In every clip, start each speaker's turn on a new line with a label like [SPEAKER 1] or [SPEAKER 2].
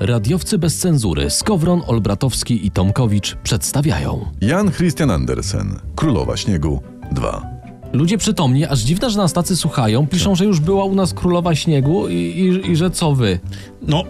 [SPEAKER 1] Radiowcy bez cenzury Skowron, Olbratowski i Tomkowicz przedstawiają.
[SPEAKER 2] Jan Christian Andersen, Królowa Śniegu 2.
[SPEAKER 1] Ludzie przytomni, aż dziwne, że nas tacy słuchają, piszą, że już była u nas królowa śniegu i, i, i że co wy.
[SPEAKER 3] No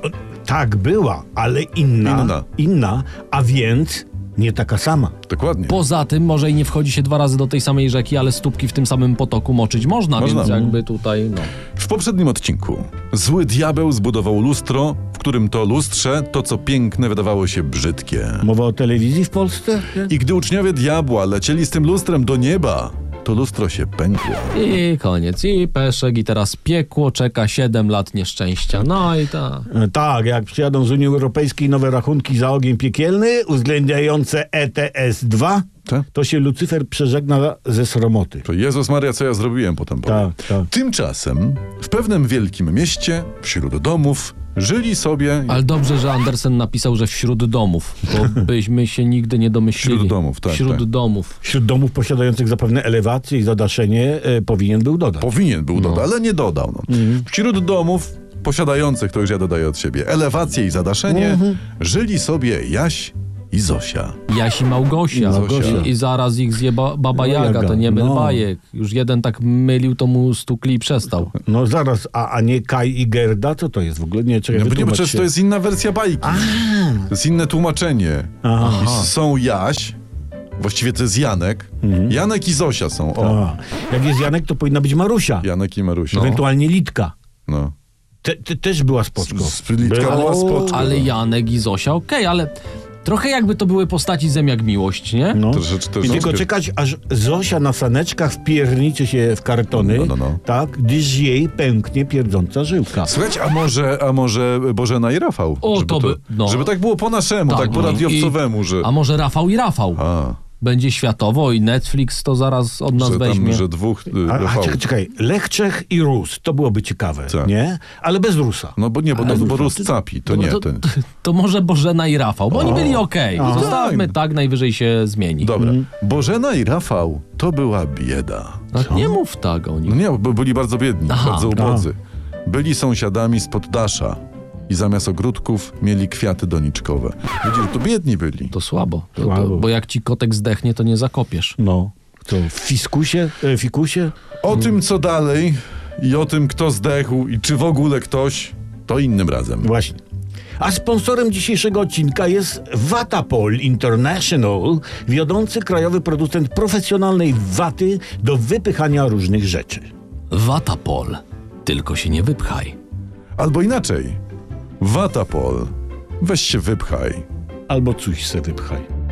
[SPEAKER 3] tak, była, ale inna,
[SPEAKER 2] Inna.
[SPEAKER 3] inna. a więc nie taka sama.
[SPEAKER 2] Dokładnie.
[SPEAKER 1] Poza tym, może i nie wchodzi się dwa razy do tej samej rzeki, ale stópki w tym samym potoku moczyć można,
[SPEAKER 2] Można.
[SPEAKER 1] więc jakby tutaj, no.
[SPEAKER 2] W poprzednim odcinku zły diabeł zbudował lustro, w którym to lustrze to, co piękne, wydawało się brzydkie.
[SPEAKER 3] Mowa o telewizji w Polsce?
[SPEAKER 2] I gdy uczniowie diabła lecieli z tym lustrem do nieba, to lustro się pękło.
[SPEAKER 1] I koniec, i peszek, i teraz piekło czeka 7 lat nieszczęścia. No i tak.
[SPEAKER 3] E, Tak, jak przyjadą z Unii Europejskiej nowe rachunki za ogień piekielny uwzględniające E ETS-2,
[SPEAKER 2] Tak.
[SPEAKER 3] to się Lucyfer przeżegna ze sromoty.
[SPEAKER 2] To Jezus Maria, co ja zrobiłem potem? powiem.
[SPEAKER 3] Tak, tak.
[SPEAKER 2] Tymczasem w pewnym wielkim mieście, wśród domów, żyli sobie
[SPEAKER 1] Ale dobrze, że Andersen napisał, że wśród domów, bo byśmy się nigdy nie domyślili.
[SPEAKER 2] Wśród domów, tak,
[SPEAKER 1] Wśród
[SPEAKER 2] tak.
[SPEAKER 1] domów.
[SPEAKER 3] Wśród domów posiadających zapewne elewację i zadaszenie e, powinien był dodać.
[SPEAKER 2] Powinien był dodać, ale nie dodał. No.
[SPEAKER 3] Mhm.
[SPEAKER 2] Wśród domów posiadających, to już ja dodaję od siebie, elewację i zadaszenie,
[SPEAKER 3] Mhm.
[SPEAKER 2] żyli sobie Jaś i Zosia.
[SPEAKER 1] Jaś i Małgosia.
[SPEAKER 2] I Małgosia.
[SPEAKER 1] I, I zaraz ich zje ba Baba
[SPEAKER 3] Jaga.
[SPEAKER 1] Jaga, to nie myl
[SPEAKER 3] No.
[SPEAKER 1] bajek. Już jeden tak mylił, to mu stukli i przestał.
[SPEAKER 3] No zaraz, a, a nie Kaj i Gerda? Co to jest w ogóle? Nie, czekaj,
[SPEAKER 2] No, bo nie, bo
[SPEAKER 3] wytłumacz
[SPEAKER 2] przecież
[SPEAKER 3] się.
[SPEAKER 2] to jest inna wersja bajki. To jest inne tłumaczenie.
[SPEAKER 3] Aha.
[SPEAKER 2] I są Jaś, właściwie to jest Janek.
[SPEAKER 3] Mhm.
[SPEAKER 2] Janek i Zosia są. O,
[SPEAKER 3] A, jak jest Janek, to powinna być Marusia.
[SPEAKER 2] Janek i Marusia.
[SPEAKER 3] No. Ewentualnie Litka.
[SPEAKER 2] No.
[SPEAKER 3] Te, te, też była spoczko.
[SPEAKER 2] Z- z Litka
[SPEAKER 3] Była-
[SPEAKER 2] była spoczko.
[SPEAKER 1] Ale Janek i Zosia, okej, ale trochę jakby to były postaci zem jak miłość, nie?
[SPEAKER 3] No.
[SPEAKER 2] Troszeczkę,
[SPEAKER 3] I tylko
[SPEAKER 2] troszeczkę.
[SPEAKER 3] czekać, aż Zosia na saneczkach wpierniczy się w kartony,
[SPEAKER 2] No, no, no.
[SPEAKER 3] tak, gdyż jej pęknie pierdząca żyłka.
[SPEAKER 2] Słuchajcie, a może, a może Bożena i Rafał?
[SPEAKER 1] O, to by- no.
[SPEAKER 2] żeby tak było po naszemu, tak, po
[SPEAKER 1] i-
[SPEAKER 2] radiowcowemu,
[SPEAKER 1] i-
[SPEAKER 2] że...
[SPEAKER 1] A może Rafał i Rafał?
[SPEAKER 2] A,
[SPEAKER 1] Będzie światowo i Netflix to zaraz od nas
[SPEAKER 2] że tam,
[SPEAKER 1] No, weźmie.
[SPEAKER 2] że dwóch y,
[SPEAKER 3] A, a
[SPEAKER 2] Rafałów.
[SPEAKER 3] czekaj, czekaj, Lech Czech i Rus, to byłoby ciekawe,
[SPEAKER 2] Tak.
[SPEAKER 3] nie? Ale bez Rusa.
[SPEAKER 2] No bo nie, bo, no, bo
[SPEAKER 3] Rafał,
[SPEAKER 2] Rus capi, to
[SPEAKER 1] No
[SPEAKER 2] nie
[SPEAKER 1] to,
[SPEAKER 2] ten.
[SPEAKER 1] to, to może Bożena i Rafał, bo oni byli okej.
[SPEAKER 2] A.
[SPEAKER 1] Zostawmy
[SPEAKER 2] Fajne.
[SPEAKER 1] tak, najwyżej się zmieni.
[SPEAKER 2] Dobra.
[SPEAKER 3] Mhm.
[SPEAKER 2] Bożena i Rafał to była bieda.
[SPEAKER 1] No, nie mów tak o
[SPEAKER 2] No
[SPEAKER 1] nich.
[SPEAKER 2] nie, bo byli bardzo biedni,
[SPEAKER 1] Aha.
[SPEAKER 2] bardzo
[SPEAKER 3] No.
[SPEAKER 2] ubodzy. Byli sąsiadami z poddasza i zamiast ogródków mieli kwiaty doniczkowe. Widzisz, to biedni byli.
[SPEAKER 1] To słabo. To, to,
[SPEAKER 3] Słabo.
[SPEAKER 1] bo jak ci kotek zdechnie, to nie zakopiesz.
[SPEAKER 3] No, to w Fiskusie, e, Fikusie?
[SPEAKER 2] O
[SPEAKER 1] Mm.
[SPEAKER 2] tym, co dalej i o tym, kto zdechł i czy w ogóle ktoś, to innym razem.
[SPEAKER 3] Właśnie. A sponsorem dzisiejszego odcinka jest Vatapol International, wiodący krajowy producent profesjonalnej waty do wypychania różnych rzeczy.
[SPEAKER 1] Watapol. Tylko się nie wypchaj.
[SPEAKER 2] Albo inaczej. Watapol. Weź się wypchaj.
[SPEAKER 3] Albo coś se wypchaj.